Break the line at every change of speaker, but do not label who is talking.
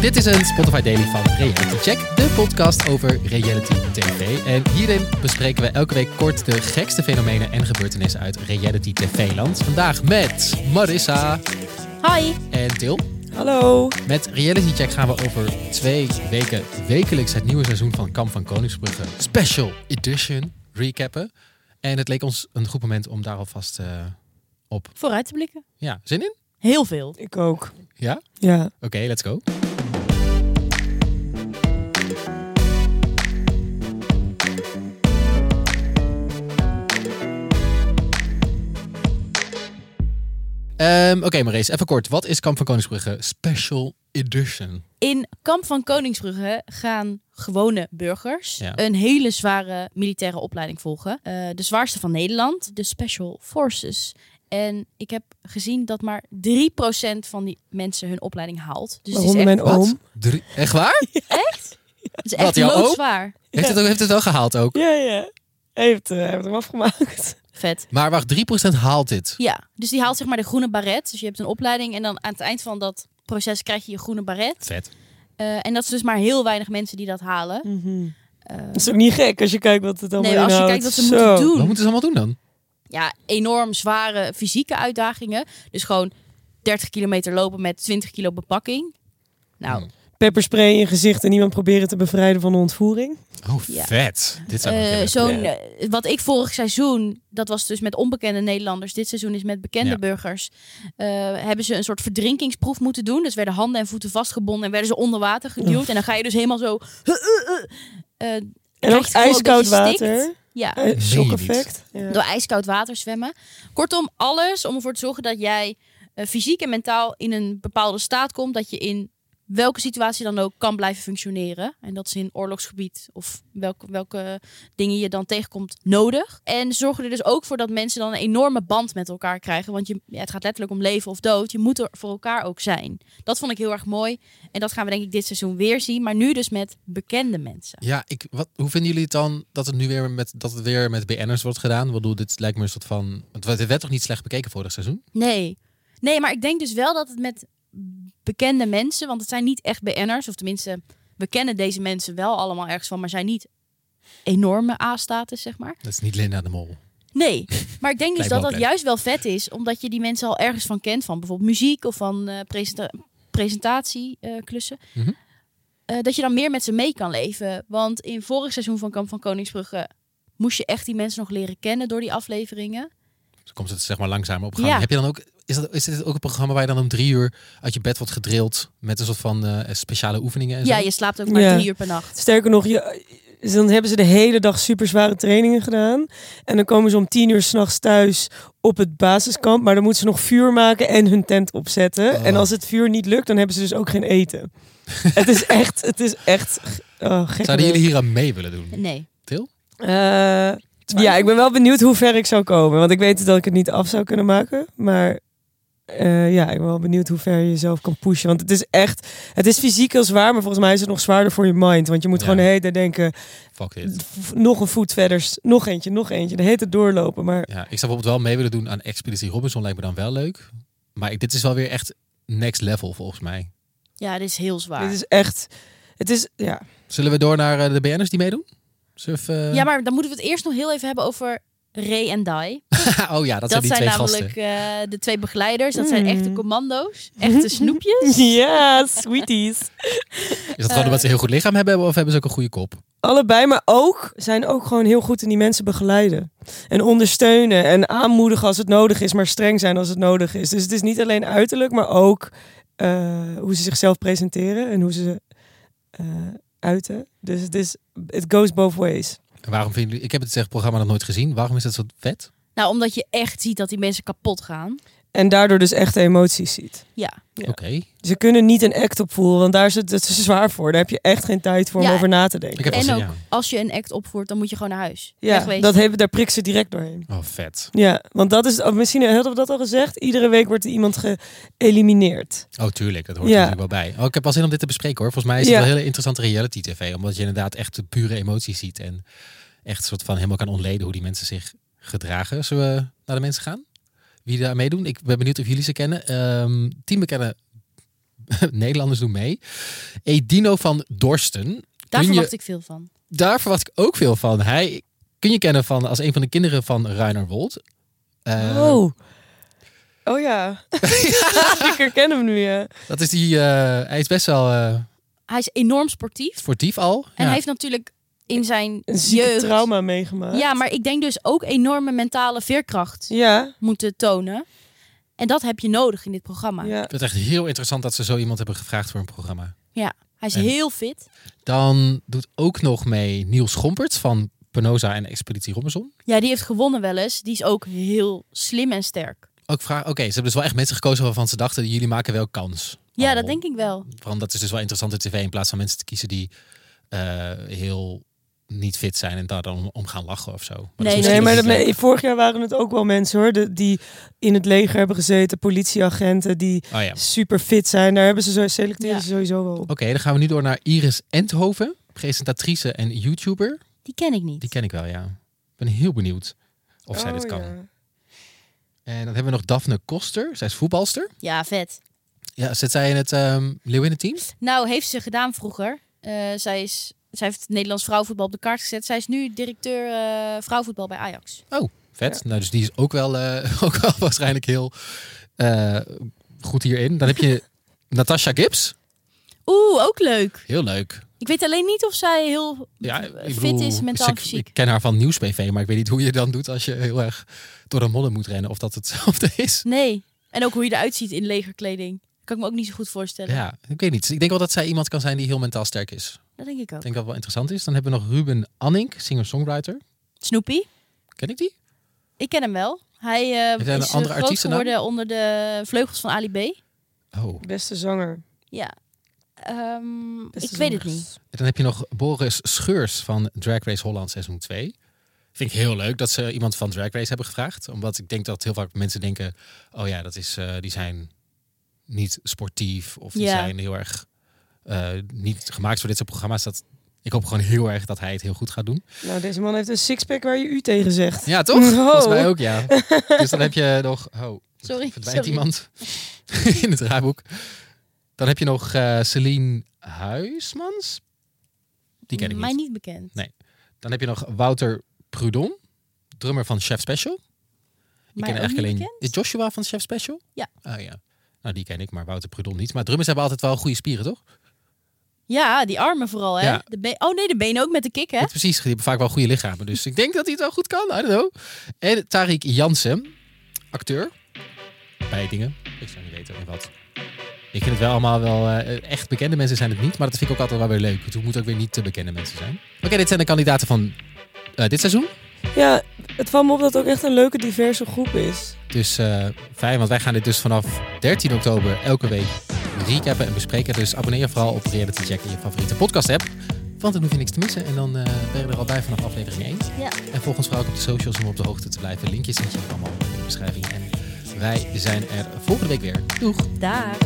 Dit is een Spotify Daily van Reality Check, de podcast over reality TV. En hierin bespreken we elke week kort de gekste fenomenen en gebeurtenissen uit reality TV-land. Vandaag met Marissa
Hoi.
en Til.
Hallo.
Met Reality Check gaan we over twee weken wekelijks het nieuwe seizoen van Kamp van Koningsbrugge Special Edition recappen. En het leek ons een goed moment om daar alvast eh, op.
Vooruit te blikken.
Ja, zin in?
Heel veel.
Ik ook.
Ja? Oké,
Ja.
let's go. Ehm, Oké, Maurice, even kort. Wat is Kamp van Koningsbrugge Special Edition?
In Kamp van Koningsbrugge gaan gewone burgers
Ja.
een hele zware militaire opleiding volgen. Eh, de zwaarste van Nederland, de Special Forces. En ik heb gezien dat maar 3% van die mensen hun opleiding haalt. Dus het is
Waaronder
echt,
mijn oom.
Drie- Echt waar?
het is
Wat,
echt
jouw oom?
loodzwaar.
Heeft, het, ook- heeft het wel gehaald ook.
Ja, ja. Hij heeft, eh, hij heeft hem afgemaakt.
Vet.
Maar wacht, 3% haalt dit.
Ja, dus die haalt zeg maar de groene baret. Dus je hebt een opleiding en dan aan het eind van dat proces krijg je je groene baret.
Vet.
Eh, en dat is dus maar heel weinig mensen die dat halen. Eh,
Dat is ook niet gek als je kijkt wat het allemaal
Nee, als je
inhoudt.
kijkt wat ze
Zo.
moeten doen.
Wat moeten ze allemaal doen dan?
ja, enorm zware fysieke uitdagingen. Dus gewoon 30 kilometer lopen met 20 kilo bepakking.
Hmm.
Nou,
Pepperspray in je gezicht en iemand proberen te bevrijden van de ontvoering.
Oh,
Ja.
vet. Dit zou ik
eh,
willen.
zo'n,
Ja.
eh, wat ik vorig seizoen, dat was dus met onbekende Nederlanders, dit seizoen is met bekende
Ja.
burgers, eh, hebben ze een soort verdrinkingsproef moeten doen. Dus werden handen en voeten vastgebonden en werden ze onder water geduwd. En dan ga je dus helemaal zo. eh, eh,
En ook
Krijgt gewoon
ijskoud
dat je stikt.
water.
ja.
Eh, Shock
niet.
effect. Ja.
Door ijskoud water zwemmen. Kortom, alles om ervoor te zorgen dat jij eh, fysiek en mentaal in een bepaalde staat komt. Dat je in welke situatie dan ook kan blijven functioneren. En dat is in oorlogsgebied of welke, welke dingen je dan tegenkomt nodig. En zorgen er dus ook voor dat mensen dan een enorme band met elkaar krijgen. Want je, ja, het gaat letterlijk om leven of dood. Je moet er voor elkaar ook zijn. Dat vond ik heel erg mooi. En dat gaan we denk ik dit seizoen weer zien. Maar nu dus met bekende mensen.
Ja, ik, wat, hoe vinden jullie het dan dat het nu weer met, dat het weer met BN'ers wordt gedaan? Ik bedoel, dit lijkt me een soort van... Het werd- het werd toch niet slecht bekeken vorig seizoen?
Nee. Nee, maar ik denk dus wel dat het met bekende mensen, want het zijn niet echt BN'ers, of tenminste, we kennen deze mensen wel allemaal ergens van, maar zijn niet enorme A-status, zeg maar.
Dat is niet Linda de Mol.
Nee, maar ik denk
Lijkt
dus
me
dat
ook
dat
leuk.
juist wel vet is, omdat je die mensen al ergens van kent, van bijvoorbeeld muziek of van eh, presenta- presentatieklussen.
Mhm.
Eh, dat je dan meer met ze mee kan leven. Want in vorig seizoen van Kamp van Koningsbrugge moest je echt die mensen nog leren kennen door die afleveringen.
Dus komt het zeg maar langzamer op gang.
Ja.
Heb je dan ook... Is, dat, is dit ook een programma waar je dan om drie uur uit je bed wordt gedrild met een soort van eh, speciale oefeningen en zo?
Ja, je slaapt ook maar
Ja.
drie uur per nacht.
Sterker nog, je, dus dan hebben ze de hele dag super zware trainingen gedaan. En dan komen ze om tien uur s'nachts thuis op het basiskamp. Maar dan moeten ze nog vuur maken en hun tent opzetten.
Oh.
En als het vuur niet lukt, dan hebben ze dus ook geen eten. het is echt, het is echt oh, gek.
Zouden jullie hier aan mee willen doen?
Nee.
Eh, ja, ik ben wel benieuwd hoe ver ik zou komen. Want ik weet dat ik het niet af zou kunnen maken. Maar eh, ja, ik ben wel benieuwd hoe ver je jezelf kan pushen. Want het is echt, het is fysiek heel zwaar. Maar volgens mij is het nog zwaarder voor je mind. Want je moet
Ja.
gewoon de hele tijd denken,
Fuck dit.
v- nog een voet verder, s- nog eentje, nog eentje. De hele tijd doorlopen. Maar
Ja, ik zou bijvoorbeeld wel mee willen doen aan Expeditie Robinson. Lijkt me dan wel leuk. Maar ik- dit is wel weer echt next level volgens mij.
Ja, dit is heel zwaar.
dit is echt, het is, ja.
Zullen we door naar eh, de BN'ers die meedoen? Surf, eh,
Ja, maar dan moeten we het eerst nog heel even hebben over Ray en Dai.
oh ja, dat,
dat
zijn die
zijn
twee gasten.
namelijk eh, de twee begeleiders. Dat zijn
Mm.
echte commando's. Echte snoepjes.
Ja, sweeties.
Is dat gewoon
Eh,
omdat ze een heel goed lichaam hebben of hebben ze ook een goede kop?
Allebei, maar ook zijn ook gewoon heel goed in die mensen begeleiden. En ondersteunen en aanmoedigen als het nodig is, maar streng zijn als het nodig is. Dus het is niet alleen uiterlijk, maar ook eh, hoe ze zichzelf presenteren en hoe ze eh, uiten. Dus het is, it goes both ways.
En waarom vinden jullie, ik heb het zeg, programma nog nooit gezien. Waarom is dat zo vet?
Nou, omdat je echt ziet dat die mensen kapot gaan.
En daardoor dus echte emoties ziet.
Ja.
Ja.
Oké.
Ze kunnen niet een act opvoeren, want daar is het, het is zwaar voor. Daar heb je echt geen tijd voor
Ja.
om over na te denken.
Ik heb al
En
zin,
ook-
ja.
Als je een act opvoert, dan moet je gewoon naar huis.
Ja,
Wegwezen.
dat hebben, daar prikt ze direct doorheen.
Oh, vet.
Ja, want dat is, oh, misschien hadden we dat al gezegd. Iedere week wordt er iemand geëlimineerd.
Oh, tuurlijk. Dat hoort
Ja.
er natuurlijk wel bij. Oh, ik heb wel zin om dit te bespreken hoor. Volgens mij is het
Ja.
wel hele interessante reality tv. Omdat je inderdaad echt de pure emoties ziet. En echt soort van helemaal kan ontleden hoe die mensen zich gedragen. Zullen we naar de mensen gaan? Wie daar meedoen? Ik ben benieuwd of jullie ze kennen. Ehm tien bekende Nederlanders doen mee. Edino van Dorsten.
Daar
Kun je-
verwacht ik veel van.
Daar verwacht ik ook veel van. Hij kun je kennen van, als een van de kinderen van Rainer Wold. Eh,
oh. Oh ja. ik herken hem nu, ja.
Dat is die, eh, hij is best wel eh,
Hij is enorm sportief.
sportief al.
En
Ja.
hij heeft natuurlijk in zijn
Een zieke
jeugd...
trauma meegemaakt.
Ja, maar ik denk dus ook enorme mentale veerkracht
Ja,
moeten tonen. En dat heb je nodig in dit programma.
ja.
Ik vind het echt heel interessant dat ze zo iemand hebben gevraagd voor een programma.
Hij is
En-
heel fit.
Dan doet ook nog mee Niels Gomperts van Penosa en Expeditie Robinson.
Ja, die heeft gewonnen wel eens. Die is ook heel slim en sterk.
Ook vraag, oké, ze hebben dus wel echt mensen gekozen waarvan ze dachten, jullie maken wel kans.
Ja,
Al.
dat denk ik wel.
Want dat is dus wel interessante tv in plaats van mensen te kiezen die eh, heel niet fit zijn en daar dan om, om gaan lachen of zo. Maar dat is
Nee,
misschien
Nee, maar
ook
dat
niet
me-
leuk.
vorig jaar waren het ook wel mensen hoor. de- die in het leger hebben gezeten, politieagenten die
Oh ja. Oké,
super fit zijn. Daar hebben ze zo, selecteren
Ja.
ze sowieso wel op.
dan gaan we nu door naar Iris Endhoven, presentatrice en YouTuber.
Die ken ik niet.
Die ken ik wel, ja. Ik ben heel benieuwd of zij dit
Oh,
kan.
ja.
En dan hebben we nog Daphne Koster. Zij is voetbalster.
Ja, vet.
Ja, zit zij in het ehm Leeuwinnen-team?
Nou, heeft ze gedaan vroeger. Eh, zij, is, zij heeft het Nederlands vrouwenvoetbal op de kaart gezet. Zij is nu directeur eh, vrouwenvoetbal bij Ajax.
Vet. Nou, dus die is ook wel, eh, ook wel waarschijnlijk heel eh, goed hierin. Dan heb je Natasha Gibbs.
Oeh, ook leuk.
Heel leuk.
Ik weet alleen niet of zij heel
Ja, ik
fit
bedoel,
is, mentaal
ik,
fysiek.
ik ken haar van nieuwsbv, maar ik weet niet hoe je dan doet als je heel erg door een modder moet rennen. Of dat hetzelfde is.
Nee. En ook hoe je eruit ziet in legerkleding. Kan ik me ook niet zo goed voorstellen.
Ja, ik weet niet. Dus Ik denk wel dat zij iemand kan zijn die heel mentaal sterk is.
Dat denk ik ook.
Ik denk dat wel interessant is. Dan hebben we nog Ruben Annink, singer-songwriter.
Snoopy.
Ken ik die?
Ik ken hem wel. Hij eh,
hij een
is
andere
groot
artiestennaam?
geworden onder de vleugels van Ali B.
Oh.
Beste zanger.
Ja. Ehm,
Beste
ik weet het
zangers.
niet.
En dan heb je nog Boris Scheurs van Drag Race Holland seizoen 2. Vind ik heel leuk dat ze iemand van Drag Race hebben gevraagd. Omdat ik denk dat heel vaak mensen denken... oh ja, dat is, eh, die zijn niet sportief of die
Ja.
zijn heel erg eh, niet gemaakt voor dit soort programma's. Dat, ik hoop gewoon heel erg dat hij het heel goed gaat doen.
Nou, deze man heeft een sixpack waar je u tegen zegt.
Ja, toch?
Oh.
Volgens mij ook, ja. Dus dan heb je nog... Oh,
Sorry.
verdwijnt
sorry.
iemand in het draaiboek. Dan heb je nog eh Celine Huismans. Die ken ik niet.
Mij niet bekend.
Nee, Dan heb je nog Wouter Prudon, drummer van Chef Special. Ik
Mij
ken
ook
eigenlijk
niet
alleen is Joshua van Chef Special.
Ja.
Ah ja. Nou, die ken ik, maar Wouter Prudon niet. Maar drummers hebben altijd wel goede spieren, toch?
Ja, die armen vooral, hè?
Ja.
De be- oh nee, de benen ook met de kick, hè?
Ja, Precies, die hebben vaak wel goede lichamen. Dus ik denk dat hij het wel goed kan. I don't know. En Tariq Jansen, acteur. Bij dingen. Ik zou niet weten in wat. Ik vind het wel allemaal wel... eh, echt bekende mensen zijn het niet. Maar dat vind ik ook altijd wel weer leuk. Het moet ook weer niet te bekende mensen zijn. Oké, dit zijn de kandidaten van eh, dit seizoen.
Ja, het valt me op dat het ook echt een leuke diverse groep is.
Dus eh, fijn, want wij gaan dit dus vanaf 13 oktober elke week recappen en bespreken. Dus abonneer je vooral op Reality Check in je favoriete podcast app. Want dan hoef je niks te missen. En dan eh, ben je er al bij vanaf aflevering 1.
Ja.
En volg ons vooral ook op de socials om op de hoogte te blijven. Linkjes zet je ook allemaal in de beschrijving. En wij zijn er volgende week weer. Doeg!
Daar.